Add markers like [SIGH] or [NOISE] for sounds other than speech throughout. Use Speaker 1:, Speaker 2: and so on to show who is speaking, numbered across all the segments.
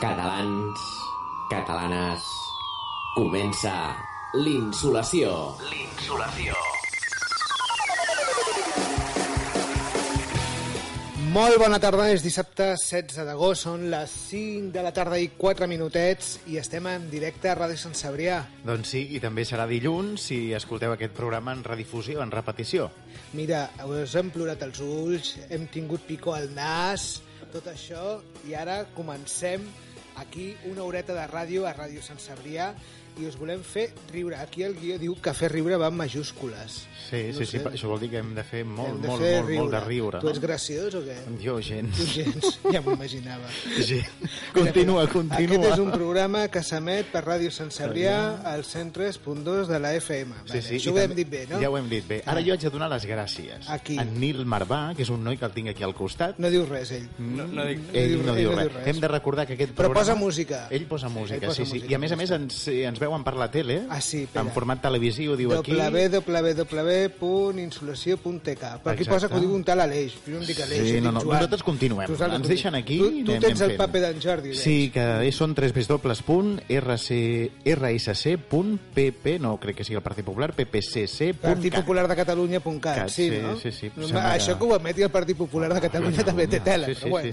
Speaker 1: Catalans, catalanes, comença l'insolació. L'insolació.
Speaker 2: Molt bona tarda, és dissabte 16 d'agost, són les 5 de la tarda i 4 minutets i estem en directe a Ràdio Sant Cebrià.
Speaker 3: Doncs sí, i també serà dilluns si escolteu aquest programa en redifusió, en repetició.
Speaker 2: Mira, us hem plorat els ulls, hem tingut picor al nas, tot això, i ara comencem aquí una horeta de ràdio a Ràdio Sant Cebrià i us volem fer riure. Aquí el guió diu que fer riure va amb majúscules.
Speaker 3: Sí, sí, sí,
Speaker 2: sé.
Speaker 3: això vol dir que hem de fer molt,
Speaker 2: Hem de
Speaker 3: molt,
Speaker 2: fer
Speaker 3: molt, molt de riure.
Speaker 2: Tu ets graciós o què?
Speaker 3: no? Jo,
Speaker 2: [LAUGHS]
Speaker 3: [LAUGHS] gens.
Speaker 2: Tu gens, ja m'ho imaginava.
Speaker 3: Gent. Continua, continua.
Speaker 2: Aquest és un programa que s'emet per Ràdio Sant Cebrià al 103.2 de la FM. Vale, això
Speaker 3: i
Speaker 2: ho hem
Speaker 3: també-
Speaker 2: dit bé, no?
Speaker 3: Ja ho hem dit bé. Ara jo haig de donar les gràcies.
Speaker 2: A qui?
Speaker 3: En Nil Marvà, que és un noi que el tinc aquí al costat.
Speaker 2: No diu res, ell.
Speaker 3: No, no dic,
Speaker 2: no
Speaker 3: ell
Speaker 2: diu
Speaker 3: no
Speaker 2: res,
Speaker 3: diu
Speaker 2: ell no
Speaker 3: res.
Speaker 2: diu res.
Speaker 3: Hem de recordar que aquest
Speaker 2: Però
Speaker 3: programa...
Speaker 2: posa música.
Speaker 3: Ell posa música,
Speaker 2: posa
Speaker 3: sí, sí.
Speaker 2: música,
Speaker 3: I a més a més ens, eh, ens veuen per la tele,
Speaker 2: Ah, sí, espera.
Speaker 3: en format televisiu, diu aquí...
Speaker 2: www.insolació.tk Però aquí
Speaker 3: Exacte.
Speaker 2: posa que ho diu un tal Aleix. Jo no dic Aleix,
Speaker 3: Sí,
Speaker 2: jo dic
Speaker 3: no, no.
Speaker 2: Joan.
Speaker 3: Nosaltres continuem. Ens deixen aquí
Speaker 2: Tu,
Speaker 3: i
Speaker 2: tu
Speaker 3: anem
Speaker 2: tens el
Speaker 3: fent.
Speaker 2: paper d'en Jordi. veig.
Speaker 3: Sí, que és- són www.rsc.pp, no crec que sigui el Partit Popular,
Speaker 2: Partit
Speaker 3: ppcc.cat.
Speaker 2: Popular de Catalunya.cat,
Speaker 3: Cat,
Speaker 2: sí,
Speaker 3: sí,
Speaker 2: no?
Speaker 3: sí, sí.
Speaker 2: No,
Speaker 3: Sembla
Speaker 2: Això
Speaker 3: que-
Speaker 2: que ho emeti el Partit Popular de Catalunya també té tela,
Speaker 3: Sí, sí,
Speaker 2: però bueno.
Speaker 3: sí,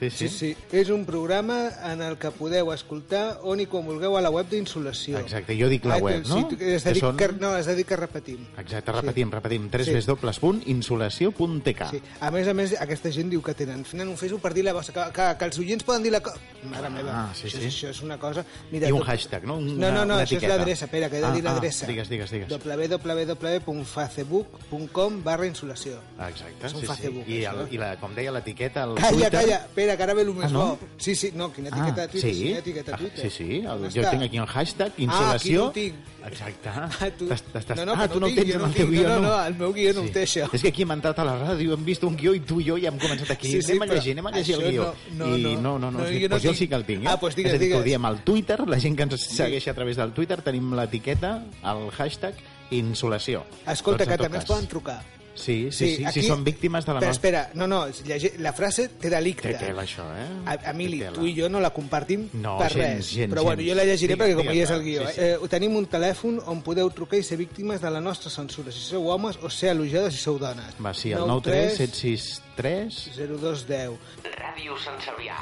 Speaker 3: sí, sí, sí.
Speaker 2: És un programa en el que podeu escoltar on i quan vulgueu a la web d'Insolació. Ah,
Speaker 3: Exacte, jo dic la web, no?
Speaker 2: Sí, tu- es
Speaker 3: Que
Speaker 2: dedic,
Speaker 3: són- Ah.
Speaker 2: que, no, es dedica a repetim.
Speaker 3: Exacte, repetim, repetim.
Speaker 2: Sí.
Speaker 3: www.insolació.tk.
Speaker 2: Sí. A més a més, aquesta gent diu que tenen, tenen un Facebook per dir la vostra, que, que, que els oients poden dir la cosa... Mare meva,
Speaker 3: Ah, sí,
Speaker 2: això,
Speaker 3: sí.
Speaker 2: això és una cosa... Mira,
Speaker 3: I un
Speaker 2: tot-
Speaker 3: hashtag, no? Una-
Speaker 2: no, no, no
Speaker 3: una
Speaker 2: això és
Speaker 3: etiqueta.
Speaker 2: l'adreça, espera, que he de
Speaker 3: Ah,
Speaker 2: dir
Speaker 3: ah,
Speaker 2: l'adreça.
Speaker 3: digues, digues, digues.
Speaker 2: www.facebook.com barra insolació.
Speaker 3: Exacte,
Speaker 2: És un
Speaker 3: sí, sí.
Speaker 2: Facebook,
Speaker 3: I,
Speaker 2: això,
Speaker 3: el,
Speaker 2: eh?
Speaker 3: i la, com deia l'etiqueta, Ah, el
Speaker 2: Calla,
Speaker 3: Twitter...
Speaker 2: calla, espera, que ara ve el més
Speaker 3: Ah, no?
Speaker 2: bo. Sí, sí, no, quina
Speaker 3: Ah,
Speaker 2: etiqueta a Twitter,
Speaker 3: sí?
Speaker 2: quina etiqueta a Twitter.
Speaker 3: Ah, sí, sí, el,
Speaker 2: On
Speaker 3: jo
Speaker 2: està?
Speaker 3: tinc aquí el hashtag,
Speaker 2: Ah, aquí no
Speaker 3: insolació...
Speaker 2: ho tinc.
Speaker 3: Exacte.
Speaker 2: Ah, tu...
Speaker 3: T'has- t'has-
Speaker 2: No, no,
Speaker 3: ah,
Speaker 2: que
Speaker 3: tu no
Speaker 2: no
Speaker 3: el
Speaker 2: tinc,
Speaker 3: tens
Speaker 2: jo
Speaker 3: en
Speaker 2: no
Speaker 3: el teu
Speaker 2: tinc.
Speaker 3: guió,
Speaker 2: No, no, no, el meu guió no ho té, això.
Speaker 3: És que aquí hem entrat a la ràdio, hem vist un guió i tu i jo i hem començat aquí.
Speaker 2: Sí, sí,
Speaker 3: anem a
Speaker 2: però
Speaker 3: llegir, anem a llegir el
Speaker 2: això
Speaker 3: guió.
Speaker 2: no, no,
Speaker 3: I
Speaker 2: no.
Speaker 3: no, no,
Speaker 2: No,
Speaker 3: no, sí,
Speaker 2: jo no
Speaker 3: doncs jo
Speaker 2: tinc.
Speaker 3: sí que el tinc. Eh?
Speaker 2: Ah, doncs digues,
Speaker 3: és a dir, que
Speaker 2: digues.
Speaker 3: ho diem al Twitter, la gent que ens segueix a través del Twitter, tenim l'etiqueta, el hashtag insolació.
Speaker 2: Escolta,
Speaker 3: Doncs, en
Speaker 2: que
Speaker 3: tot
Speaker 2: també ens
Speaker 3: cas.
Speaker 2: poden trucar.
Speaker 3: Sí, sí, sí,
Speaker 2: aquí-
Speaker 3: si són víctimes de la
Speaker 2: Però
Speaker 3: nostra...
Speaker 2: espera, no, no, és llege- la frase té delicte.
Speaker 3: Té tela, això, eh?
Speaker 2: A, Emili,
Speaker 3: Té tela.
Speaker 2: tu i jo no la compartim
Speaker 3: No,
Speaker 2: per
Speaker 3: gens,
Speaker 2: res.
Speaker 3: gens,
Speaker 2: però bueno,
Speaker 3: gens.
Speaker 2: jo la llegiré
Speaker 3: Digues,
Speaker 2: perquè com
Speaker 3: digues,
Speaker 2: hi és el
Speaker 3: va,
Speaker 2: guió.
Speaker 3: sí, sí.
Speaker 2: Eh? Eh, tenim un telèfon on podeu trucar i ser víctimes de la nostra censura, si sou homes o ser elogiades si sou dones.
Speaker 3: Va, sí, el 93763...
Speaker 2: 0210.
Speaker 4: Ràdio Sant Cebrià.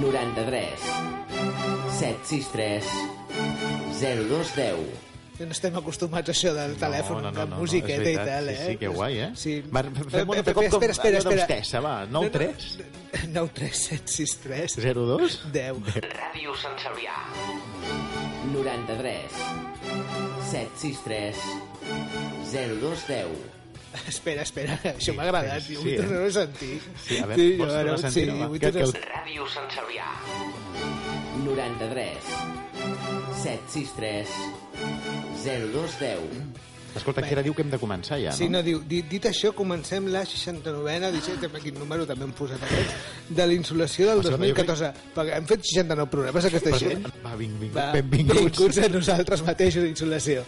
Speaker 1: 93 763 0210
Speaker 2: No estem acostumats a això del telèfon, no, no, no, de musiqueta
Speaker 3: és
Speaker 2: i
Speaker 3: veritat,
Speaker 2: tal, eh?
Speaker 3: Sí, sí, que guai, eh?
Speaker 2: Sí.
Speaker 3: Va, fem un
Speaker 2: Espera,
Speaker 3: altre cop com
Speaker 2: espera, espera,
Speaker 3: allò
Speaker 2: espera.
Speaker 3: d'Hostessa, va, 9 3
Speaker 2: No, no, 93763
Speaker 3: [LAUGHS] 0 2
Speaker 2: 10.
Speaker 4: Ràdio Sant Cebrià.
Speaker 1: 93 763 0210
Speaker 2: Espera, espera, això m'ha agradat,
Speaker 3: sí,
Speaker 2: jo
Speaker 3: sí,
Speaker 2: vull
Speaker 3: eh?
Speaker 2: tornar-ho a sentir.
Speaker 3: Sí, a veure,
Speaker 2: sí, jo
Speaker 3: vols
Speaker 2: ara-
Speaker 3: tornar a sentir,
Speaker 2: sí,
Speaker 3: home,
Speaker 2: vull
Speaker 3: que-
Speaker 2: tornar-
Speaker 3: que
Speaker 4: Ràdio Sant Cebrià.
Speaker 1: 93 763 0210
Speaker 3: Escolta, que ara diu que hem de començar ja,
Speaker 2: Sí,
Speaker 3: no?
Speaker 2: no, diu, dit, dit això, comencem la 69a edició, també quin número també hem posat aquests, de l'insolació del
Speaker 3: O sigui,
Speaker 2: 2014. Perquè hem fet 69 programes, aquesta
Speaker 3: Però-
Speaker 2: gent.
Speaker 3: Va, vinc, vinc,
Speaker 2: Va,
Speaker 3: benvinguts.
Speaker 2: Benvinguts a nosaltres mateixos, insolació.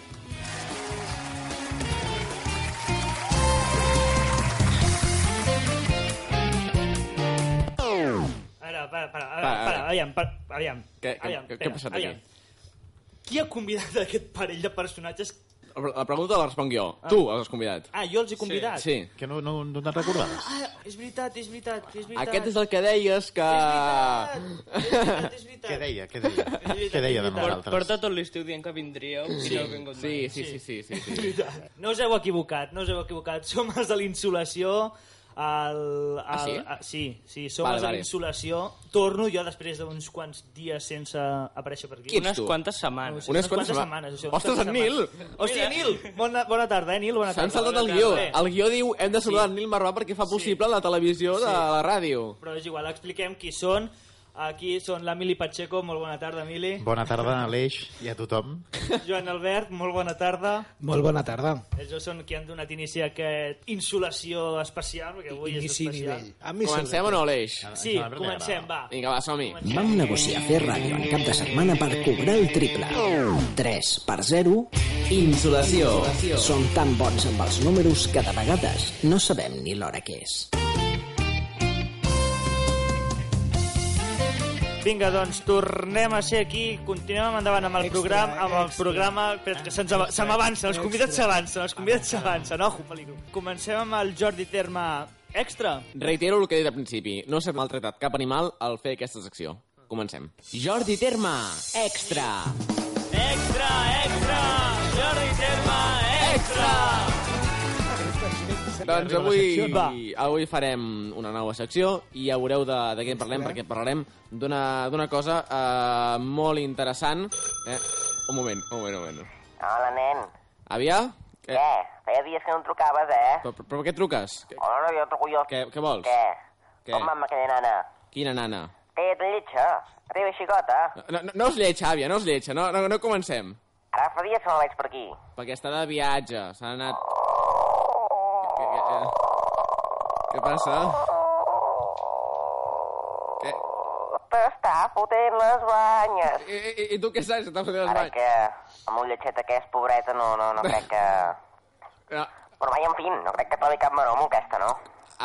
Speaker 5: Ara, para, para, para,
Speaker 6: Para,
Speaker 5: para,
Speaker 6: ara.
Speaker 5: aviam, para, aviam.
Speaker 6: Què- què-
Speaker 5: aviam,
Speaker 6: què-
Speaker 5: espera,
Speaker 6: què ha passat
Speaker 5: aviam. Qui ha convidat [LAUGHS] aquest parell de personatges?
Speaker 6: La pregunta la responc jo. Tu els has convidat.
Speaker 5: Ah, jo els he convidat?
Speaker 6: Sí.
Speaker 3: Que no, no, no te'n recordaves?
Speaker 5: Ah, és veritat, és veritat, és veritat.
Speaker 6: Aquest és el que deies que...
Speaker 5: És veritat, és veritat.
Speaker 3: Què deia, què deia?
Speaker 5: veritat,
Speaker 3: Què deia de
Speaker 5: és veritat.
Speaker 3: nosaltres?
Speaker 7: Porta tot l'estiu dient que vindríeu sí. i no heu vingut mai.
Speaker 6: Sí, sí, sí, sí, sí, sí.
Speaker 5: No us heu equivocat, no us heu equivocat. [LAUGHS] Som els de l'insolació... El, el,
Speaker 6: Ah, sí?
Speaker 5: a- sí, sí, som
Speaker 6: Vale,
Speaker 5: els de
Speaker 6: vale.
Speaker 5: l'insolació. Torno jo després d'uns quants dies sense aparèixer per aquí.
Speaker 6: Qui ets
Speaker 7: Unes
Speaker 6: tu?
Speaker 5: No
Speaker 7: quantes
Speaker 5: ho
Speaker 7: setmanes.
Speaker 5: sé,
Speaker 6: Unes
Speaker 5: unes quantes
Speaker 6: quantes sema-
Speaker 5: setmanes. Això,
Speaker 6: Ostres,
Speaker 5: unes
Speaker 6: en
Speaker 5: quantes
Speaker 6: Nil!
Speaker 5: setmanes. Hòstia, Nil! Bona, bona tarda, eh, Nil? Bona tarda.
Speaker 6: S'han saltat el
Speaker 5: Bona
Speaker 6: guió.
Speaker 5: tarda.
Speaker 6: El guió diu hem de saludar en Nil Marvà perquè fa possible la televisió de la ràdio.
Speaker 5: Però és igual, expliquem qui són. Aquí són l'Emili Pacheco, molt bona tarda, Emili.
Speaker 3: Bona tarda, Aleix, i a tothom.
Speaker 5: Joan Albert, molt bona tarda.
Speaker 2: Molt bona tarda.
Speaker 5: Ells són qui han donat inici a aquest insolació especial, perquè avui
Speaker 2: Inici
Speaker 5: és especial.
Speaker 2: nivell. A mi
Speaker 6: Comencem o no, Aleix?
Speaker 5: Sí,
Speaker 3: Això a mi
Speaker 5: comencem,
Speaker 3: m'agrada.
Speaker 5: va.
Speaker 6: Vinga, va, som-hi.
Speaker 8: Vam negociar fer ràdio en cap de setmana per cobrar el triple. 3 per 0.
Speaker 1: Insolació
Speaker 8: Som tan bons amb els números que de vegades no sabem ni l'hora que és.
Speaker 5: Vinga, doncs, tornem a ser aquí, continuem endavant amb el
Speaker 2: Extra,
Speaker 5: programa, amb el
Speaker 2: extra.
Speaker 5: programa, però que se'ns ava- se m'avancen, els convidats
Speaker 2: Extra.
Speaker 5: s'avancen, els convidats s'avancen, ojo, peligro. Comencem amb el Jordi Terma Extra.
Speaker 6: Reitero el que he dit al principi. No s'ha maltratat cap animal al fer aquesta secció. Comencem. Jordi Terma, extra.
Speaker 5: Extra, extra, Jordi Terma Extra.
Speaker 6: Doncs avui,
Speaker 5: Va.
Speaker 6: avui farem una nova secció i ja veureu de, de què en parlem, perquè parlarem d'una d'una cosa eh, molt interessant. Eh, un moment, un moment, un moment.
Speaker 4: Hola, nen.
Speaker 6: Avia?
Speaker 4: Què?
Speaker 6: Què?
Speaker 4: Feia dies que no em trucaves, eh?
Speaker 6: Però, però per què truques? Què,
Speaker 4: Hola, no, jo truco jo.
Speaker 6: què, què vols?
Speaker 4: Què?
Speaker 6: Què?
Speaker 4: Com va amb aquella nana?
Speaker 6: Quina nana?
Speaker 4: Té ets lletja. Arriba, xicota.
Speaker 6: No, no, no us lleig, àvia, no us lleig. No, no, no comencem.
Speaker 4: Ara fa dies que no la veig per aquí.
Speaker 6: Perquè està de viatge, s'ha anat... Què, què, què? què passa? Què?
Speaker 4: T'està fotent les banyes.
Speaker 6: I, i, I tu què saps? Estàs fotent les
Speaker 4: Ara
Speaker 6: mans.
Speaker 4: que amb un lletxet aquest, pobreta, no, no, no crec que...
Speaker 6: No,
Speaker 4: Però vaja, en fi, no crec que trobi cap maroma aquesta, no?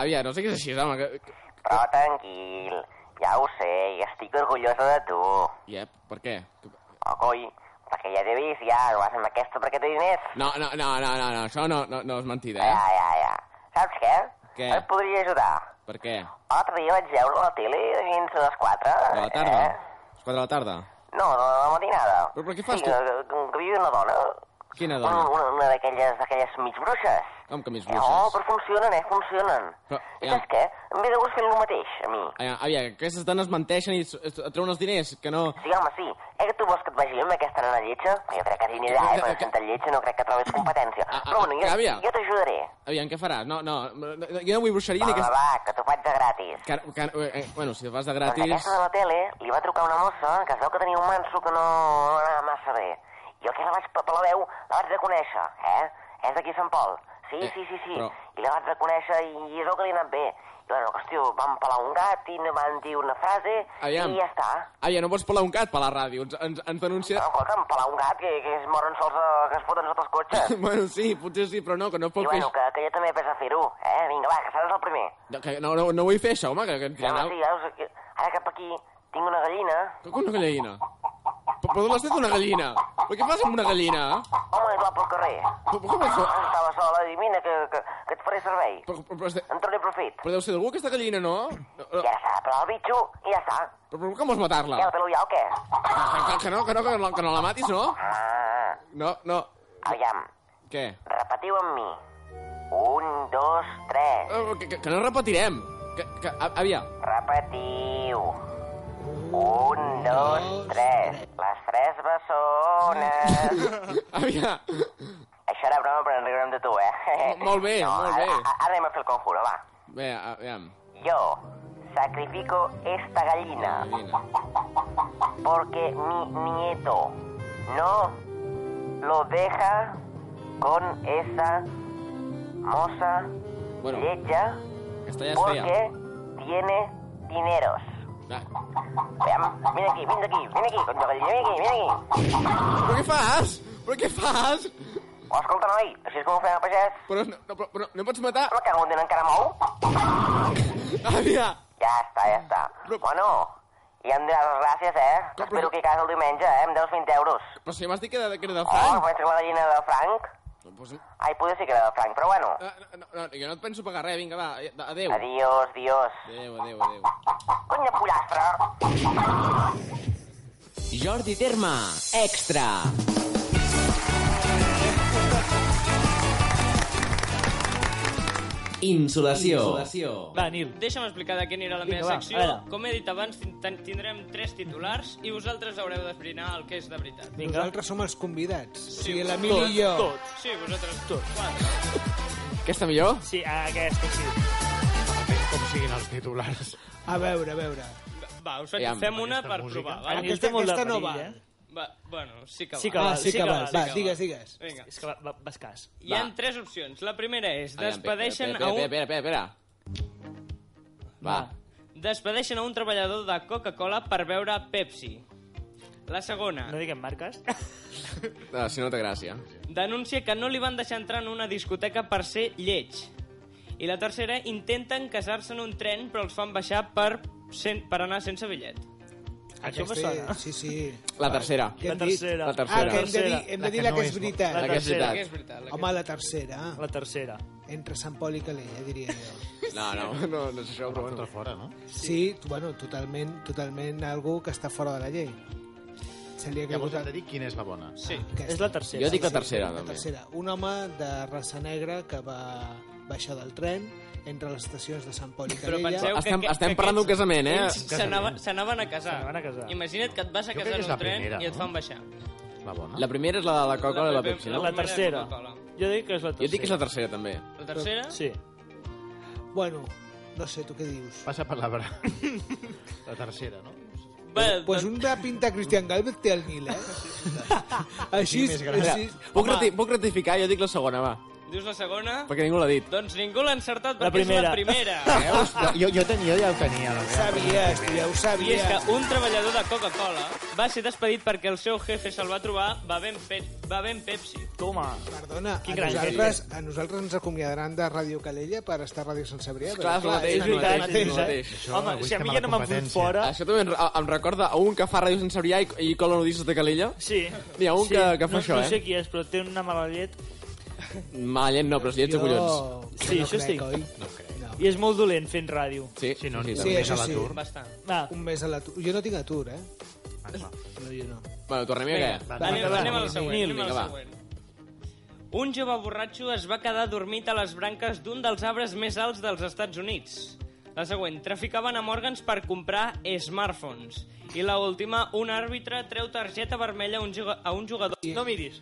Speaker 6: àvia, no siguis així, home. Que, que...
Speaker 4: Però tranquil, ja ho sé, i estic orgullosa de tu.
Speaker 6: Ja, per què? Que-
Speaker 4: Oh, coi, perquè ja t'he vist, ja, no vas amb aquesta perquè té diners.
Speaker 6: No, no, no, no, no, no això no, no, no és mentida,
Speaker 4: Ja,
Speaker 6: eh?
Speaker 4: ja, ja. Saps què?
Speaker 6: Què?
Speaker 4: Et podria ajudar.
Speaker 6: Per què?
Speaker 4: L'altre dia vaig veure la tele fins a les 4.
Speaker 6: De la tarda?
Speaker 4: Eh?
Speaker 6: És 4 de la tarda?
Speaker 4: No, de la matinada.
Speaker 6: Però- però què fas
Speaker 4: sí,
Speaker 6: tu?
Speaker 4: Que, que, que viu una dona.
Speaker 6: Quina
Speaker 4: Una,
Speaker 6: dona?
Speaker 4: una, una d'aquelles d'aquelles mig bruixes.
Speaker 6: Com que més
Speaker 4: Eh, No,
Speaker 6: bruixes?
Speaker 4: però funcionen, eh? Funcionen.
Speaker 6: Però,
Speaker 4: I
Speaker 6: ja.
Speaker 4: saps què? Em ve de gust fer el mateix, a mi.
Speaker 6: Àvia, àvia, que aquestes dones menteixen i s- es- et treuen els diners, que no...
Speaker 4: Sí, home, sí. Eh que tu vols que et vagi jo amb aquesta nana lletja? Jo crec que t'anirà, eh? Perquè sent tan lletja no crec que trobis competència.
Speaker 6: Ah, ah,
Speaker 4: Però bueno, jo,
Speaker 6: àvia.
Speaker 4: jo t'ajudaré.
Speaker 6: Àvia, què faràs? No, no, no, no, jo no vull bruixeria ni
Speaker 4: Va,
Speaker 6: que...
Speaker 4: va, va, que t'ho faig de gratis.
Speaker 6: Car car eh, bueno, si vas de
Speaker 4: Doncs
Speaker 6: gratis...
Speaker 4: aquesta de la tele li va trucar una mossa que es veu que tenia un manso que no, no anava massa bé. Jo que la vaig per per la veu, la vaig reconèixer, eh? És d'aquí a Sant Pol. Sí,
Speaker 6: Eh,
Speaker 4: sí, sí, sí.
Speaker 6: però-
Speaker 4: I la vaig reconèixer i, i és el que li ha anat bé. I bueno, que estiu, van pelar un gat i no van dir una frase
Speaker 6: Aviam.
Speaker 4: i ja està.
Speaker 6: Àvia, Ah, no pots pelar un gat per la ràdio. Ens, ens, ens denuncia...
Speaker 4: No, escolta'm, pelar un gat que, que es moren sols eh, que es foten sota els
Speaker 6: [LAUGHS]
Speaker 4: cotxes.
Speaker 6: bueno, sí, potser sí, però no, que no puc
Speaker 4: I
Speaker 6: fer...
Speaker 4: bueno, que, que jo també he pensat fer-ho, eh? Vinga, va, que seràs el primer.
Speaker 6: No, que, no, no, no vull fer això, home, que, que, que,
Speaker 4: Ja, home, sí,
Speaker 6: que,
Speaker 4: ja, us- que- ara cap aquí tinc una gallina.
Speaker 6: que una gallina. Però, però l'has fet una gallina. Però què fas amb una gallina?
Speaker 4: Home, és va pel carrer.
Speaker 6: Però, però, com és...
Speaker 4: Ah, Estava sola, i mira, que, que, que et faré servei.
Speaker 6: Però, però, però, és de-
Speaker 4: En tornaré profit.
Speaker 6: però deu ser d'algú aquesta gallina, no? no,
Speaker 4: I
Speaker 6: no
Speaker 4: ara s'ha de pelar el bitxo i ja està.
Speaker 6: però, però com vols matar-la?
Speaker 4: Ja el pelo ja o què?
Speaker 6: Que, que, que, no, que no, que no, que no la matis, no?
Speaker 4: Ah,
Speaker 6: No, no.
Speaker 4: aviam,
Speaker 6: Què?
Speaker 4: repetiu amb mi. Un, dos, tres.
Speaker 6: Eh, Que, que, que no repetirem. Que, que, a- àvia, [LAUGHS]
Speaker 4: Repetiu. Un, dos, tres. Les tres bessones.
Speaker 6: [LAUGHS] àvia.
Speaker 4: Això era broma, però en riurem de tu, eh?
Speaker 6: Molt bé, molt
Speaker 4: ara-
Speaker 6: bé.
Speaker 4: a- Ara anem a fer el conjuro, va.
Speaker 6: Bé, aviam.
Speaker 4: Yo sacrifico esta gallina
Speaker 6: Gallina.
Speaker 4: porque mi nieto no lo deja con esa moza
Speaker 6: Bueno,
Speaker 4: lecha
Speaker 6: aquesta ja es feia.
Speaker 4: porque tiene dineros.
Speaker 6: Va,
Speaker 4: Vean, ven aquí, ven aquí, ven aquí, con tu gallina, ven aquí, ven aquí.
Speaker 6: Però què fas? Però què fas?
Speaker 4: Oh, escolta, noi, així és com ho fem a pagès.
Speaker 6: Però no, no, però, però no em pots matar.
Speaker 4: Me cago en Déu, encara mou.
Speaker 6: Àvia!
Speaker 4: Ja està, ja està.
Speaker 6: Però-
Speaker 4: Bueno, ja em diràs les gràcies, eh?
Speaker 6: Però-
Speaker 4: Espero que hi cagues el diumenge, eh? Em deus 20 euros.
Speaker 6: Però si ja m'has dit que era, que era de
Speaker 4: Oh,
Speaker 6: franc.
Speaker 4: penso que la gallina de Frank.
Speaker 6: Pues, eh,
Speaker 4: Ai, potser sí que era de Frank, però bueno.
Speaker 6: no, no, jo no et penso pagar res, vinga, va, eh, adéu.
Speaker 4: Adiós, adiós.
Speaker 6: Adéu, adéu, adéu.
Speaker 4: Cony de pollastre.
Speaker 6: Jordi Terma, extra.
Speaker 1: Insolació.
Speaker 5: Va, Nil.
Speaker 7: Deixa'm explicar de què anirà la
Speaker 5: Vinga,
Speaker 7: meva
Speaker 5: va,
Speaker 7: secció.
Speaker 5: a veure.
Speaker 7: Com he dit abans, tin- ten- tindrem tres titulars i vosaltres haureu d'esbrinar el que és de veritat.
Speaker 5: Vinga.
Speaker 2: Nosaltres som els convidats.
Speaker 7: Sí,
Speaker 2: Sí, l'Emili
Speaker 7: tots,
Speaker 2: i jo.
Speaker 7: tots. Sí, vosaltres tots. Quatre.
Speaker 6: Aquesta millor?
Speaker 5: Sí, aquesta sí.
Speaker 3: Com siguin els titulars.
Speaker 2: A veure, a veure.
Speaker 7: Va, us faig,
Speaker 6: Aviam,
Speaker 7: fem una
Speaker 3: aquesta
Speaker 7: per
Speaker 3: música.
Speaker 7: provar, va?
Speaker 5: El Nil
Speaker 2: Ah, Aquesta-
Speaker 5: té molt de
Speaker 2: aquesta no
Speaker 5: perill,
Speaker 2: val.
Speaker 5: eh?
Speaker 7: va? Bueno, sí que va.
Speaker 5: Sí que
Speaker 2: Ah,
Speaker 5: val,
Speaker 2: sí que val. Va,
Speaker 5: sí que
Speaker 2: digues, digues.
Speaker 7: Vinga.
Speaker 5: És que va, va, vas cas.
Speaker 7: Hi ha tres opcions. La primera és,
Speaker 6: Aviam,
Speaker 7: despedeixen
Speaker 6: espera,
Speaker 7: a un...
Speaker 6: Espera, espera, espera, espera. Va.
Speaker 7: Despedeixen a un treballador de Coca-Cola per beure Pepsi. La segona,
Speaker 5: No diguem marques.
Speaker 2: Ah,
Speaker 6: No, eh, si no té gràcia.
Speaker 7: denuncia que no li van deixar entrar en una discoteca per ser lleig. I la tercera, intenten casar-se en un tren però els fan baixar per, sen... per anar sense bitllet.
Speaker 5: Això me
Speaker 2: Este-
Speaker 5: sona.
Speaker 2: Sí, sí.
Speaker 6: La tercera.
Speaker 2: Què
Speaker 5: La
Speaker 2: hem dit?
Speaker 5: tercera.
Speaker 6: La tercera.
Speaker 2: Ah, que hem de dir, hem
Speaker 3: La
Speaker 2: de dir
Speaker 3: que
Speaker 2: la
Speaker 3: no
Speaker 2: que és
Speaker 3: és bo-
Speaker 2: veritat.
Speaker 6: La que és
Speaker 5: tercera.
Speaker 6: veritat.
Speaker 7: És veritat. La...
Speaker 2: Home, la tercera.
Speaker 5: La tercera.
Speaker 2: Entre Sant Pol i Calella, diria jo.
Speaker 6: No, no, no, no és això, però bueno.
Speaker 3: Contra fora, no?
Speaker 2: Sí, bueno, totalment, totalment algú que està fora de la llei. Seria que
Speaker 3: Llavors hem de dir quina és la bona.
Speaker 7: Sí.
Speaker 5: És la tercera.
Speaker 6: Jo dic la tercera,
Speaker 2: La
Speaker 6: també.
Speaker 2: tercera. Un home de raça negra que va baixar del tren entre les estacions de Sant Pol i
Speaker 7: Però
Speaker 2: Calella.
Speaker 7: penseu
Speaker 6: Estem-
Speaker 7: que... que-
Speaker 6: estem
Speaker 7: que
Speaker 6: parlant d'un
Speaker 7: aquests-
Speaker 6: casament, eh?
Speaker 7: ells s'anava- S'anaven a casar.
Speaker 5: S'anaven a casar.
Speaker 7: Imagina't que et vas a
Speaker 3: Jo crec
Speaker 7: casar
Speaker 3: que és
Speaker 7: en
Speaker 3: la
Speaker 7: un tren
Speaker 3: primera,
Speaker 7: i et
Speaker 3: no?
Speaker 7: fan baixar.
Speaker 3: La bona?
Speaker 6: La primera és la de la Coca-Cola i la Pepsi, no?
Speaker 5: La
Speaker 7: primera
Speaker 5: tercera.
Speaker 7: és Coca-Cola.
Speaker 5: Jo dic que és la tercera.
Speaker 6: Jo dic que és la tercera, també.
Speaker 7: La tercera?
Speaker 5: Sí.
Speaker 2: Bueno, no sé, tu què dius?
Speaker 3: Passa per la bra... [LAUGHS] la tercera, no?
Speaker 7: Va,
Speaker 2: Pues un de pinta Cristian Galvez té el Nil, eh? així,
Speaker 3: més gran.
Speaker 2: així,
Speaker 6: Puc, rati puc ratificar, jo dic la segona, va.
Speaker 7: Dius la segona?
Speaker 6: Perquè ningú l'ha dit.
Speaker 7: Doncs ningú l'ha encertat
Speaker 5: La
Speaker 7: perquè és la
Speaker 5: primera.
Speaker 7: primera.
Speaker 3: [LAUGHS] Veus? Jo, jo, tenia, jo ja ho tenia. La
Speaker 2: ho sabies, tu ja ho
Speaker 7: I és
Speaker 2: sabies.
Speaker 7: que un treballador de Coca-Cola va ser despedit perquè el seu jefe se'l va trobar bevent, pe bevent Pepsi.
Speaker 5: Toma.
Speaker 6: Ah,
Speaker 2: Perdona,
Speaker 5: Quin
Speaker 2: a
Speaker 5: gran
Speaker 2: nosaltres, a nosaltres ens acomiadaran de Ràdio Calella per estar a Ràdio Sant Cebrià.
Speaker 6: Clar, és el mateix,
Speaker 5: És
Speaker 6: és el
Speaker 5: veritat,
Speaker 6: mateix,
Speaker 5: és
Speaker 6: és el
Speaker 5: veritat.
Speaker 6: mateix. Ah,
Speaker 3: Això,
Speaker 5: Home,
Speaker 3: avui
Speaker 5: si a
Speaker 3: estem
Speaker 5: mi
Speaker 3: a
Speaker 5: ja
Speaker 3: la
Speaker 5: no m'han fot
Speaker 3: competència.
Speaker 5: fora...
Speaker 6: Això també em, em recorda a un que fa Ràdio Sant Cebrià i, i cola nudistes de Calella.
Speaker 5: Sí.
Speaker 6: N'hi ha un
Speaker 5: sí.
Speaker 6: que- que fa
Speaker 5: no,
Speaker 6: això,
Speaker 5: no
Speaker 6: eh?
Speaker 5: sé qui és, però té una mala llet
Speaker 6: Mala llet no, però és llet de collons.
Speaker 5: Sí,
Speaker 2: no
Speaker 5: això
Speaker 2: crec,
Speaker 5: estic.
Speaker 2: Oi?
Speaker 3: No crec.
Speaker 2: No.
Speaker 5: i és molt dolent fent ràdio.
Speaker 6: Sí,
Speaker 3: Si no, sí,
Speaker 2: Sí,
Speaker 6: també.
Speaker 3: més
Speaker 2: això
Speaker 3: a
Speaker 2: sí.
Speaker 3: l'atur.
Speaker 7: Bastant.
Speaker 5: Va,
Speaker 2: Un mes a l'atur. Jo no tinc atur, eh?
Speaker 3: Ah, clar.
Speaker 2: No, jo no.
Speaker 6: Bueno, tornem-hi a què?
Speaker 3: Va,
Speaker 7: Va, anem,
Speaker 3: va, va.
Speaker 7: anem a la següent.
Speaker 5: Nil,
Speaker 7: anem a
Speaker 6: vinga,
Speaker 7: la següent. Un jove borratxo es va quedar dormit a les branques d'un dels arbres més alts dels Estats Units. La següent, traficaven amb òrgans per comprar smartphones. I la última, un àrbitre treu targeta vermella a un, juga- a un jugador...
Speaker 5: no miris.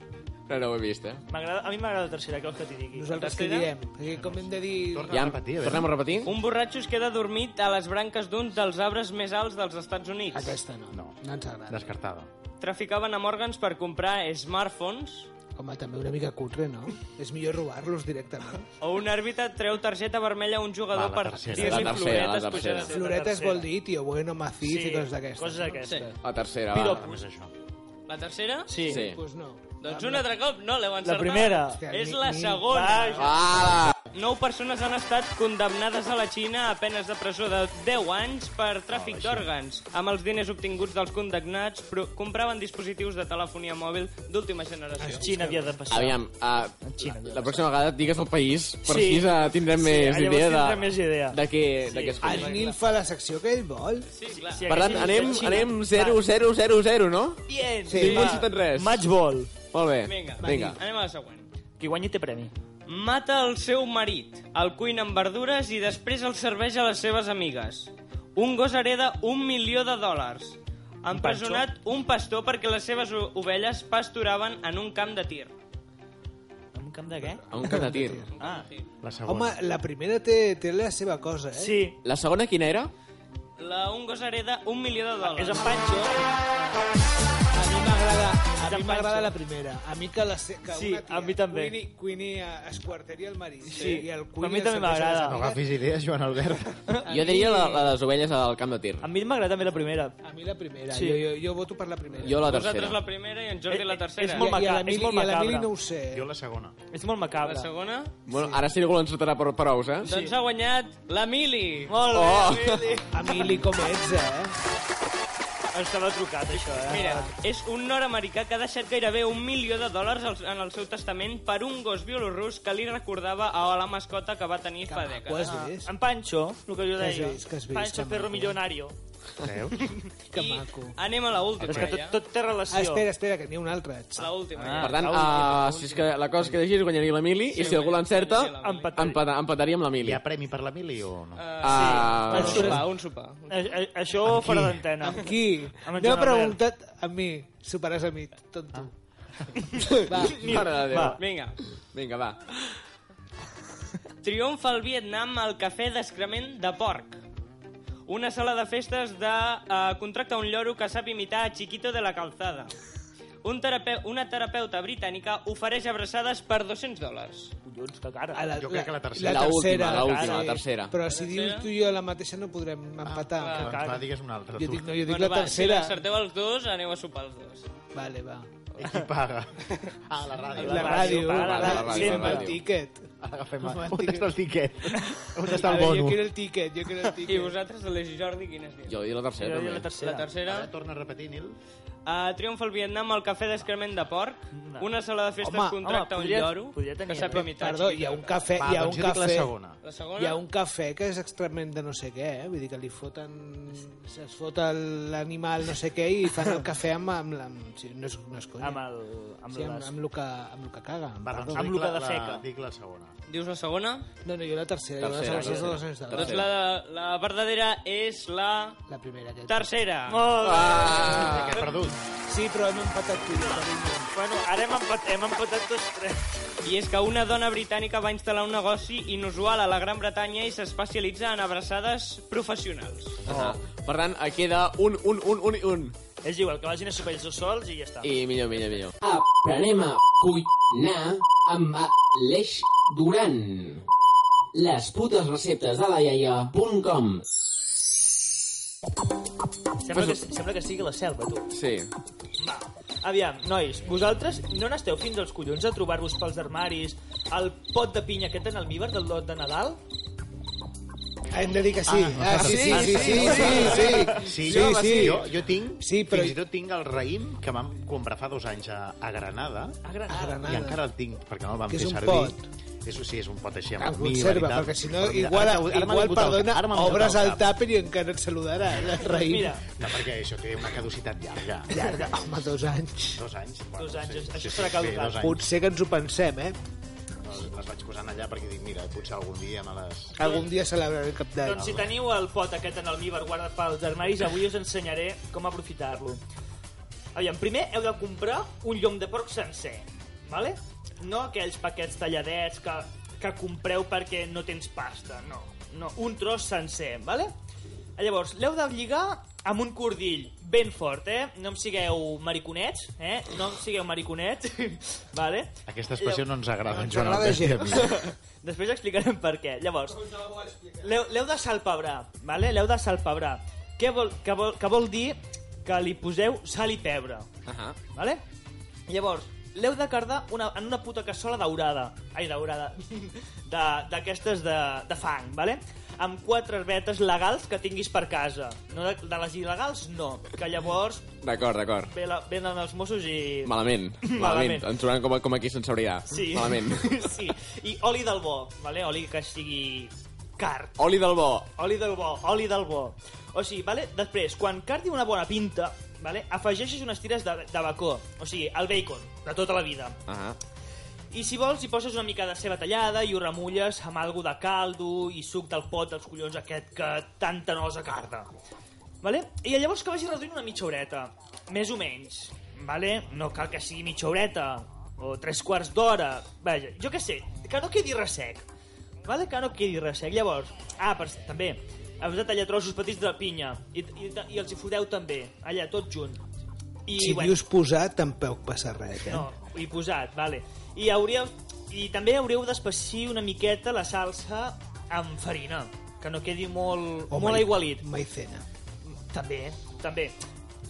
Speaker 6: No, no ho he vist, eh?
Speaker 5: M'agrada- A mi m'agrada la tercera, que vols que t'hi digui.
Speaker 2: Nosaltres què
Speaker 7: tercera?
Speaker 2: diem? Perquè com hem de dir...
Speaker 3: Torna a repetir, a
Speaker 6: tornem
Speaker 3: veure.
Speaker 6: a repetir?
Speaker 7: Un borratxo es queda dormit a les branques d'un dels arbres més alts dels Estats Units.
Speaker 2: Aquesta no. No,
Speaker 3: No.
Speaker 2: ens agrada.
Speaker 3: Descartada.
Speaker 7: Traficaven amb òrgans per comprar smartphones
Speaker 2: Home, també una mica cutre, no? És millor robar-los directament.
Speaker 7: o un àrbitre treu targeta vermella a un jugador
Speaker 3: Va, la
Speaker 7: per
Speaker 3: tercera.
Speaker 7: dir-li
Speaker 6: La tercera,
Speaker 7: floretes
Speaker 6: la tercera.
Speaker 7: pujades.
Speaker 2: Floretes
Speaker 5: tercera.
Speaker 2: vol dir, tio, bueno, maciz i coses d'aquestes.
Speaker 5: Coses d'aquestes.
Speaker 6: La tercera,
Speaker 5: Però-
Speaker 6: Ah, va.
Speaker 3: Només això.
Speaker 7: La tercera?
Speaker 5: Sí.
Speaker 6: Sí.
Speaker 2: Doncs pues no.
Speaker 7: Doncs un altre cop no l'heu encertat.
Speaker 5: La primera.
Speaker 2: Hòstia,
Speaker 7: És
Speaker 2: ni-
Speaker 7: la
Speaker 2: ni-
Speaker 7: segona.
Speaker 5: Vaja.
Speaker 6: Ah!
Speaker 7: Nou persones han estat condemnades a la Xina a penes de presó de 10 anys per tràfic d'òrgans. Amb els diners obtinguts dels condemnats, pro- compraven dispositius de telefonia mòbil d'última generació.
Speaker 5: Xina havia de passar.
Speaker 6: Aviam, uh,
Speaker 5: Xina,
Speaker 6: la pròxima vegada digues el país, per
Speaker 5: Sí.
Speaker 6: així uh, tindrem
Speaker 5: Sí,
Speaker 6: més
Speaker 5: llavors
Speaker 6: idea de,
Speaker 5: tindrem més idea.
Speaker 6: de què, de què es
Speaker 2: El
Speaker 6: coneix.
Speaker 2: Nil fa la secció que ell vol.
Speaker 7: Sí, clar.
Speaker 5: Si
Speaker 6: Per tant,
Speaker 5: haguessin
Speaker 6: anem,
Speaker 5: dit Xina.
Speaker 6: anem 0, 0, 0, 0, no?
Speaker 7: Bien.
Speaker 2: Sí.
Speaker 6: Ningú
Speaker 2: va.
Speaker 6: ha citat res.
Speaker 5: Match ball.
Speaker 6: Molt bé.
Speaker 7: Vinga,
Speaker 6: Vinga.
Speaker 7: anem a la següent.
Speaker 5: Qui guanyi té premi.
Speaker 7: Mata el seu marit, el cuina amb verdures i després el serveix a les seves amigues. Un gos hereda un milió de dòlars. Ha empresonat un pastor perquè les seves o- ovelles pasturaven en un camp de tir.
Speaker 5: En un camp de què?
Speaker 6: A un cap de tir.
Speaker 5: Ah.
Speaker 3: La
Speaker 2: Home,
Speaker 3: segona.
Speaker 2: la primera té, té la seva cosa, eh?
Speaker 5: Sí.
Speaker 6: La segona quina era?
Speaker 7: La, un gos hereda un milió de
Speaker 5: És en
Speaker 7: dòlars.
Speaker 5: Pancho.
Speaker 2: A mi m'agrada a mi
Speaker 5: Pancho.
Speaker 2: m'agrada la primera. A mi que, la, se- que
Speaker 5: Sí,
Speaker 2: una tia
Speaker 5: a mi també.
Speaker 2: cuini, cuini a esquarteri el marit eh,
Speaker 5: Sí,
Speaker 2: i el
Speaker 5: a
Speaker 2: cuini
Speaker 5: mi també
Speaker 2: el serveix a les
Speaker 5: m'agrada.
Speaker 3: No
Speaker 2: amigues.
Speaker 3: agafis idees, Joan Albert.
Speaker 6: Jo diria la, la de les ovelles al camp de tir.
Speaker 5: A mi m'agrada també la primera.
Speaker 2: A mi la primera.
Speaker 5: Sí.
Speaker 2: Jo, jo, jo voto per la primera.
Speaker 6: Jo la
Speaker 7: Vosaltres
Speaker 6: tercera.
Speaker 7: la primera i en Jordi la tercera.
Speaker 5: Eh, És molt
Speaker 2: I, i a
Speaker 5: macabra.
Speaker 2: l'Emili-
Speaker 5: És molt
Speaker 2: I a l'Emili
Speaker 5: macabra.
Speaker 2: no ho sé.
Speaker 3: Jo la segona.
Speaker 5: És molt
Speaker 7: La
Speaker 5: macabra.
Speaker 7: segona?
Speaker 6: Bueno, ara sí algú l'encertarà per, per ous, eh?
Speaker 7: Doncs ha guanyat l'Emili.
Speaker 5: Molt bé,
Speaker 6: Oh.
Speaker 5: Emili.
Speaker 6: [LAUGHS]
Speaker 2: Emili, com ets, eh?
Speaker 5: Estava trucat, això, eh?
Speaker 7: Mira, és un nord-americà que ha deixat gairebé un milió de dòlars al- en el seu testament per un gos bielorrus que li recordava a la mascota que va tenir fa
Speaker 2: Ho has
Speaker 7: dècades.
Speaker 2: vist?
Speaker 5: Ah,
Speaker 2: Ah,
Speaker 5: En Pancho, el que jo
Speaker 2: Que has
Speaker 5: deia.
Speaker 2: vist, que has vist,
Speaker 5: Pancho
Speaker 2: que
Speaker 5: Perro
Speaker 2: maco.
Speaker 5: Millonario.
Speaker 3: Veus?
Speaker 2: eh, Que
Speaker 7: I
Speaker 2: maco.
Speaker 7: anem a l'última,
Speaker 5: És que tot, Ah.
Speaker 7: ja.
Speaker 5: tot té relació.
Speaker 2: Ah, espera, espera, que n'hi ha un altre. Ets.
Speaker 7: L'última, ja.
Speaker 6: Per tant, uh, si és que la cosa que llegis guanyaria l'Emili i si algú l'encerta,
Speaker 5: Empatar.
Speaker 6: empata, empataria amb l'Emili.
Speaker 3: Hi ha premi per l'Emili o no?
Speaker 6: Ah,
Speaker 7: Un sopar, un sopar.
Speaker 5: A- a- Eh, Això fora d'antena.
Speaker 2: Amb qui?
Speaker 5: Amb en
Speaker 2: No
Speaker 5: Ah, Joan
Speaker 2: ha
Speaker 5: Albert.
Speaker 2: preguntat a mi. Superàs a mi, tonto.
Speaker 6: va, mare de Déu.
Speaker 5: Va.
Speaker 7: Vinga.
Speaker 6: Vinga, va.
Speaker 7: Triomfa al Vietnam el cafè d'excrement de porc. Una sala de festes de eh, contracta un lloro que sap imitar a Chiquito de la Calzada. Un terapeu una terapeuta britànica ofereix abraçades per 200 dòlars.
Speaker 5: Collons, que cara.
Speaker 2: A
Speaker 3: Jo crec que la tercera.
Speaker 6: La última,
Speaker 2: tercera,
Speaker 6: la última,
Speaker 2: sí.
Speaker 6: la tercera.
Speaker 2: Però si dius tu i jo la mateixa no podrem empatar.
Speaker 3: Ah, doncs va, digues una altra.
Speaker 2: jo
Speaker 3: Tu.
Speaker 2: dic, no, jo dic
Speaker 7: Bueno,
Speaker 2: la
Speaker 7: va, si
Speaker 2: tercera.
Speaker 7: l'encerteu els dos, aneu a sopar els dos.
Speaker 2: Vale, va. [LAUGHS]
Speaker 3: I qui paga? Ah, la ràdio.
Speaker 2: La,
Speaker 5: ràdio,
Speaker 2: ràdio,
Speaker 5: va, la
Speaker 2: la
Speaker 6: ràdio,
Speaker 2: ràdio,
Speaker 6: la
Speaker 2: sempre el
Speaker 6: ràdio.
Speaker 2: tiquet.
Speaker 3: Agafem a... On està el tiquet?
Speaker 2: [LAUGHS]
Speaker 3: On està
Speaker 2: A
Speaker 3: el
Speaker 2: veure, jo
Speaker 3: bono?
Speaker 2: quiero el ticket, jo quiero el
Speaker 7: I
Speaker 2: ticket.
Speaker 7: vosaltres, Aleix i Jordi, quines dieu?
Speaker 6: Jo i la tercera,
Speaker 5: Jo
Speaker 6: també.
Speaker 5: diria la tercera.
Speaker 7: La tercera,
Speaker 3: Ara torna a repetir, Nil.
Speaker 2: Eh,
Speaker 7: uh, triomfa al Vietnam el cafè d'excrement de porc,
Speaker 5: No.
Speaker 7: una sala de festes
Speaker 2: Home,
Speaker 7: contracta
Speaker 5: home,
Speaker 7: un
Speaker 5: podria-
Speaker 7: lloro
Speaker 5: podria tenir-
Speaker 7: que sap
Speaker 5: Però,
Speaker 7: imitar.
Speaker 2: Perdó,
Speaker 7: Chiqui
Speaker 2: hi ha un
Speaker 7: Terra.
Speaker 2: cafè, hi ha un
Speaker 3: doncs jo dic la
Speaker 2: cafè...
Speaker 3: segona.
Speaker 7: La segona?
Speaker 2: Hi ha un cafè que és extremament de no sé què, eh? Vull dir que li foten... Es fota l'animal no sé què i fan el cafè amb... amb, la- amb, sí, no és, no és conya.
Speaker 5: Amb el... Amb
Speaker 2: sí, amb,
Speaker 5: les...
Speaker 2: amb, lo que, amb lo que caga.
Speaker 3: Va, doncs
Speaker 5: Amb
Speaker 3: dic
Speaker 5: lo
Speaker 3: la-
Speaker 5: que
Speaker 3: la-
Speaker 5: defeca.
Speaker 3: Dic la segona.
Speaker 7: Dius la segona?
Speaker 2: No, no, jo la tercera.
Speaker 6: Tercera,
Speaker 2: jo la segona,
Speaker 6: tercera.
Speaker 2: la,
Speaker 7: Doncs
Speaker 2: segona,
Speaker 7: la, la verdadera és la
Speaker 2: la, la primera. Aquesta.
Speaker 7: tercera.
Speaker 5: Molt bé!
Speaker 3: Ah, que he perdut.
Speaker 2: Sí, però hem empatat tu. i jo, carinyo.
Speaker 5: Bueno, ara hem empat- hem empatat tots tres.
Speaker 7: I és que una dona britànica va instal·lar un negoci inusual a la Gran Bretanya i s'especialitza en abraçades professionals.
Speaker 6: Ah, per tant, eh, queda un, un, un, un i un.
Speaker 5: És igual, que vagin a sopar ells dos sols i ja està.
Speaker 6: I millor, millor, millor.
Speaker 1: Aprenem a cuinar amb Aleix Duran. Les putes receptes de la iaia.com
Speaker 5: Sembla, que, sembla que sigui la selva, tu.
Speaker 6: Sí.
Speaker 5: Va. Aviam, nois, vosaltres no n'esteu fins als collons a trobar-vos pels armaris el pot de pinya aquest en almíbar del lot de Nadal?
Speaker 2: Hem de dir que sí. Ah, sí, sí, sí, sí, sí, sí,
Speaker 3: Sí,
Speaker 2: sí,
Speaker 3: home, sí.
Speaker 2: sí.
Speaker 3: Jo, jo tinc,
Speaker 2: Sí, però-
Speaker 3: fins i tot tinc el raïm que vam comprar fa dos anys a, a Granada,
Speaker 5: A Granada.
Speaker 3: i encara el tinc, perquè no el vam
Speaker 2: Que és
Speaker 3: fer
Speaker 2: un
Speaker 3: servir.
Speaker 2: pot.
Speaker 3: És, sí, és un pot així amb
Speaker 2: En
Speaker 3: mi,
Speaker 2: conserva,
Speaker 3: veritat.
Speaker 2: perquè si no,
Speaker 3: Però mira,
Speaker 2: igual,
Speaker 3: ara m'ha- ara m'ha
Speaker 2: igual
Speaker 3: vingut al
Speaker 2: perdona,
Speaker 3: cap, ara m'ha vingut
Speaker 2: obres
Speaker 3: al
Speaker 2: al
Speaker 3: cap.
Speaker 2: tàper i encara et saludarà, eh, el raïm.
Speaker 5: Doncs Mira,
Speaker 3: No, perquè això té una caducitat llarga.
Speaker 2: Llarga, home, dos anys.
Speaker 3: Dos anys.
Speaker 5: Dos anys, això serà caducat.
Speaker 3: dos anys.
Speaker 2: Potser que ens ho pensem, eh?
Speaker 3: Les, les vaig posant allà perquè dic, mira, potser algun dia me les...
Speaker 2: Algun dia celebraré el cap d'any.
Speaker 5: doncs si teniu el pot aquest en almíbar guardat pels armaris, avui us ensenyaré com aprofitar-lo. Aviam, primer heu de comprar un llom de porc sencer, vale? No aquells paquets talladets que, que compreu perquè no tens pasta, no. No, un tros sencer, vale? Llavors, l'heu de lligar amb un cordill ben fort, eh? No em sigueu mariconets, eh? No em sigueu mariconets, [LAUGHS] vale?
Speaker 3: Aquesta expressió no ens agrada,
Speaker 2: ens
Speaker 3: Joan
Speaker 2: agrada
Speaker 3: Albert i a
Speaker 2: gens.
Speaker 3: mi.
Speaker 5: [LAUGHS] Després explicarem per què. Llavors, l'heu l'heu de salpebrar, vale? l'heu de salpebrar. Què vol, que, vol, que vol dir que li poseu sal i pebre,
Speaker 6: Ahà.
Speaker 5: vale? Llavors, l'heu de cardar una, en una puta cassola daurada. Ai, daurada. [LAUGHS] De- D'aquestes de, de, de fang, vale? Amb quatre herbetes legals que tinguis per casa. No de, de les il·legals, no. Que llavors
Speaker 6: D'acord, d'acord.
Speaker 5: ve la, venen els Mossos i... [LAUGHS]
Speaker 6: Malament. Malament.
Speaker 5: Malament.
Speaker 6: Ens trobaran com, com aquí sense obrirà.
Speaker 5: Sí.
Speaker 6: Malament.
Speaker 5: [LAUGHS] sí. I oli del bo, vale? oli que sigui car.
Speaker 6: Oli del bo.
Speaker 5: Oli del bo, oli del bo. O sigui, vale? després, quan cardi una bona pinta, vale? afegeixes unes tires de, de bacó, o sigui, el bacon, de tota la vida.
Speaker 6: Ahà.
Speaker 5: I si vols, hi poses una mica de ceba tallada i ho remulles amb algo de caldo i suc del pot dels collons aquest que tanta nosa carda. Vale? I llavors que vagi reduint una mitja horeta, més o menys. Vale? No cal que sigui mitja horeta o tres quarts d'hora. Vaja, jo què sé, que no quedi ressec. Vale? Que no quedi ressec. Llavors, ah, per, també, heu de tallar trossos petits de pinya i, i, i els hi foteu també, allà, tot junt. I,
Speaker 2: Si dius posar, tampoc passa res, eh?
Speaker 5: no, i posat, vale. I, hauríeu, i també haureu d'espessir una miqueta la salsa amb farina, que no quedi molt,
Speaker 2: O
Speaker 5: molt
Speaker 2: mai-
Speaker 5: aigualit.
Speaker 2: Maicena.
Speaker 5: També, també.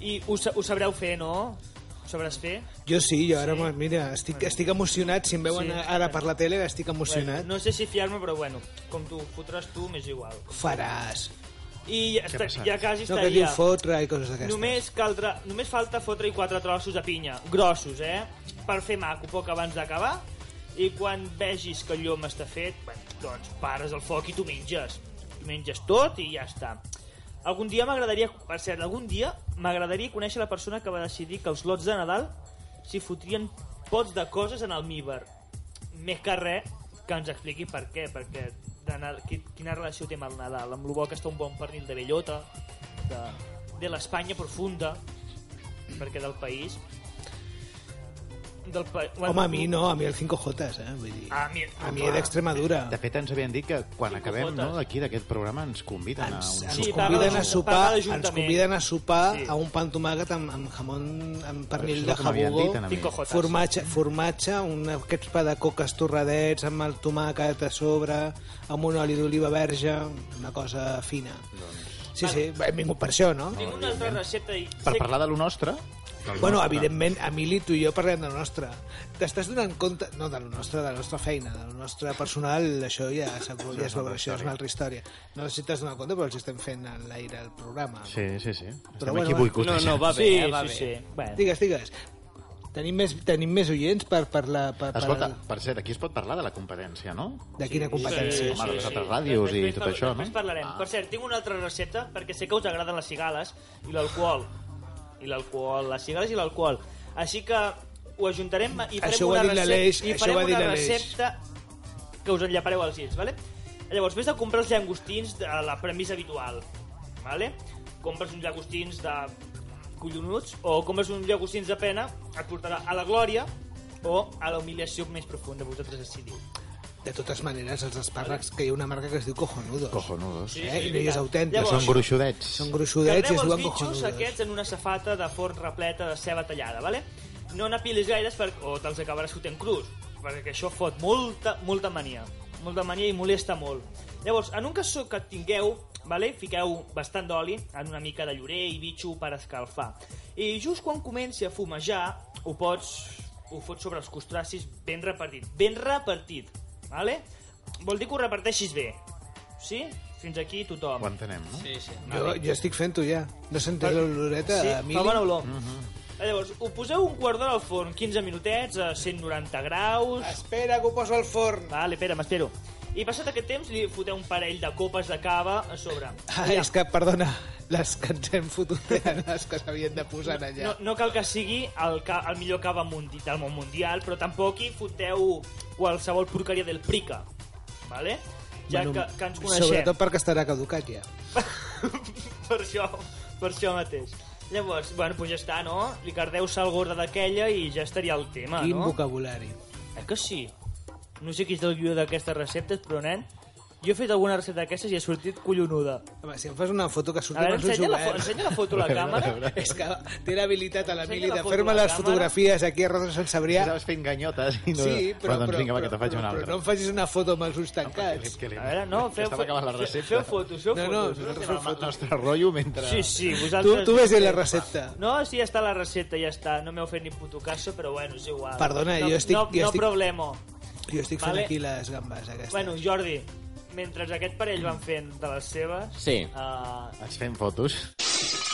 Speaker 5: I ho, sa- ho sabreu fer, no? Ho sabràs fer?
Speaker 2: Jo sí, jo ara, mira, estic, estic emocionat. Si em veuen
Speaker 5: Sí.
Speaker 2: ara per la tele, estic emocionat.
Speaker 5: Bueno, no sé si fiar-me, però bueno, com tu fotràs tu, m'és igual.
Speaker 2: Faràs.
Speaker 5: I ja, està,
Speaker 3: passa?
Speaker 5: ja quasi
Speaker 2: No, que diu
Speaker 5: estaria.
Speaker 2: fotre i coses d'aquestes.
Speaker 5: Només, caldrà, només falta fotre i quatre trossos de pinya, grossos, eh? Per fer maco poc abans d'acabar. I quan vegis que el llom està fet, bueno, doncs pares el foc i tu menges. Tu menges tot i ja està. Algun dia m'agradaria... Per cert, algun dia m'agradaria conèixer la persona que va decidir que els lots de Nadal s'hi fotrien pots de coses en almíbar. Més que res, que ens expliqui per què, perquè de Nadal, qui- quina relació té amb el Nadal, amb lo bo que està un bon pernil de bellota, de, de l'Espanya profunda, perquè del país... Del pa...
Speaker 2: Home, a mi no, a mi el 5J, eh? Vull dir,
Speaker 5: Ah, A mi,
Speaker 2: a mi d'Extremadura.
Speaker 3: [LAUGHS] De fet, ens havien dit que quan acabem no,
Speaker 5: jotes.
Speaker 3: d'aquí, d'aquest programa, ens conviden a
Speaker 2: Ens,
Speaker 3: un...
Speaker 2: ens
Speaker 5: Sí, parla
Speaker 2: conviden a
Speaker 5: d'Ajuntament.
Speaker 2: sopar,
Speaker 5: Parla d'Ajuntament.
Speaker 2: ens conviden a sopar
Speaker 5: Sí.
Speaker 2: a un pan tomàquet amb, amb jamón, amb pernil de
Speaker 3: Això és el que m'havien
Speaker 2: jabugó,
Speaker 3: dit a mi.
Speaker 5: Cinco jotes.
Speaker 2: formatge, formatge, un, aquests pa de coques torradets amb
Speaker 3: Doncs.
Speaker 2: el tomàquet a sobre, amb un oli d'oliva verge, una cosa fina. Sí, sí, hem vingut per això, no?
Speaker 5: Tinc una altra recepta i...
Speaker 3: Per
Speaker 5: sé-
Speaker 3: parlar de lo nostre... del
Speaker 2: Bueno,
Speaker 3: nostre.
Speaker 2: evidentment, Emili, tu i jo parlem del nostre. T'estàs donant compte... No, del nostre, de la nostra feina, del nostre personal, això ja, s'ha- ja es veurà, això és una altra història. No sé si t'has donat compte, però els estem fent en l'aire el programa.
Speaker 3: Sí, sí, sí. Estem
Speaker 2: bueno, va.
Speaker 3: aquí
Speaker 7: No,
Speaker 3: boicotejant.
Speaker 7: no, va bé,
Speaker 5: Sí,
Speaker 7: eh, va
Speaker 5: sí,
Speaker 7: bé.
Speaker 5: sí. Bueno.
Speaker 2: Digues, digues. Tenim més, tenim més oients per parlar... Per, per,
Speaker 3: Escolta, per cert, aquí es pot parlar de la competència, no?
Speaker 2: de quina competència.
Speaker 3: sí,
Speaker 2: és.
Speaker 3: home, les altres ràdios i
Speaker 5: Després
Speaker 3: tot
Speaker 5: par-
Speaker 3: això, no?
Speaker 5: Després parlarem.
Speaker 3: Ah.
Speaker 5: Per cert, tinc una altra recepta, perquè sé que us agraden les cigales i l'alcohol. I l'alcohol, les cigales i l'alcohol. Així que ho ajuntarem i farem
Speaker 2: Això ho ha
Speaker 5: una,
Speaker 2: dit l'Aleix, això
Speaker 5: i
Speaker 2: ho
Speaker 5: farem
Speaker 2: ha dit
Speaker 5: una
Speaker 2: l'Aleix.
Speaker 5: recepta que us enllapareu als dits, vale? Llavors, vés a comprar els llangostins de la premissa habitual, vale? Compres uns llagostins de collonuts o compres uns llagostins de pena, et portarà a la glòria o a la humiliació més profunda, vosaltres decidiu.
Speaker 2: De totes maneres, els espàrrecs, que hi ha una marca que es diu Cojonudos.
Speaker 3: Cojonudos.
Speaker 5: Sí,
Speaker 2: Eh?
Speaker 5: sí,
Speaker 2: I no hi és autèntic.
Speaker 3: Que
Speaker 5: Llavors,
Speaker 3: són gruixudets.
Speaker 2: Són gruixudets i es
Speaker 5: Carreu els
Speaker 2: diuen
Speaker 5: bitxos
Speaker 2: cojonudos.
Speaker 5: aquests en una safata de forn repleta de ceba tallada, vale? No n'apilis gaires per... o te'ls acabaràs fotent crus, perquè això fot molta, molta mania. Molta mania i molesta molt. Llavors, en un cassó que tingueu, vale? fiqueu bastant d'oli en una mica de llorer i bitxo per escalfar. I just quan comenci a fumejar, ho pots... ho fots sobre els costracis ben repartit. Ben repartit, vale? Vol dir que ho reparteixis bé. Sí? Fins aquí tothom.
Speaker 3: Ho entenem, no?
Speaker 7: Sí, sí.
Speaker 2: Jo, jo estic fent-ho ja. No sentiré l'oloreta,
Speaker 5: Sí,
Speaker 2: Emili?
Speaker 5: fa bona olor.
Speaker 2: Mhm.
Speaker 5: Eh, Llavors, ho poseu un quart d'hora al forn, 15 minutets, a 190 graus...
Speaker 2: Espera, que ho poso al forn.
Speaker 5: Vale, espera, m'espero. I passat aquest temps li foteu un parell de copes de cava a sobre.
Speaker 2: Ah, és que, perdona, les que ens hem fotut eren les que s'havien de posar allà.
Speaker 5: No, no cal que sigui el, ca el millor cava mundi del món mundial, però tampoc hi foteu qualsevol porqueria del prica, vale? Ja
Speaker 2: Bueno,
Speaker 5: que, que ens coneixem.
Speaker 2: Sobretot perquè estarà caducat ja.
Speaker 5: [LAUGHS] per això, per això mateix. Llavors, bueno, pues ja està, no? Li cardeu sal gorda d'aquella i ja estaria el tema,
Speaker 2: Quin
Speaker 5: Ah, no?
Speaker 2: vocabulari.
Speaker 5: Eh que sí? No sé qui és el guió d'aquestes receptes, però, nen, jo he fet alguna recepta d'aquestes i ha sortit collonuda.
Speaker 2: Home, si em fas una foto que surti
Speaker 5: A veure,
Speaker 2: amb els ulls
Speaker 5: ensenya la, fo
Speaker 2: oberts... [LAUGHS]
Speaker 5: ensenya la foto
Speaker 3: [LAUGHS]
Speaker 5: a la càmera.
Speaker 2: És que té l'habilitat a la
Speaker 5: Ensenya
Speaker 2: Mili
Speaker 5: la
Speaker 2: de
Speaker 5: foto
Speaker 2: fer-me
Speaker 5: a la
Speaker 2: les
Speaker 5: càmera.
Speaker 2: fotografies aquí a Rosa Sant Sabrià.
Speaker 3: Estaves fent ganyotes. I no...
Speaker 2: Sí, però,
Speaker 3: doncs
Speaker 2: però,
Speaker 3: vinga, va, que
Speaker 2: però,
Speaker 3: te faig
Speaker 2: però,
Speaker 3: una
Speaker 2: però
Speaker 3: altra.
Speaker 2: no em facis una foto amb els ulls tancats.
Speaker 3: Que li-
Speaker 5: A veure, no, feu,
Speaker 3: Estava acabant la
Speaker 5: feu,
Speaker 3: recepta.
Speaker 5: feu fotos, feu
Speaker 2: No, no,
Speaker 5: fotos.
Speaker 2: nosaltres
Speaker 5: fem
Speaker 2: fem
Speaker 3: El nostre rotllo mentre...
Speaker 5: Sí, sí,
Speaker 2: Tu,
Speaker 5: vosaltres...
Speaker 2: tu ves la recepta.
Speaker 5: No, sí, ja està la recepta, ja està. No m'heu fet ni puto caso, però bueno, és igual.
Speaker 2: Perdona,
Speaker 5: no,
Speaker 2: jo estic-
Speaker 5: No,
Speaker 2: jo
Speaker 5: no
Speaker 2: estic-
Speaker 5: problema.
Speaker 2: Jo estic fent
Speaker 5: Vale.
Speaker 2: aquí les gambes, aquestes.
Speaker 5: Bueno, Jordi, mentre aquest parell van fent de les seves...
Speaker 6: Sí.
Speaker 5: Uh,
Speaker 3: Ens fem fotos.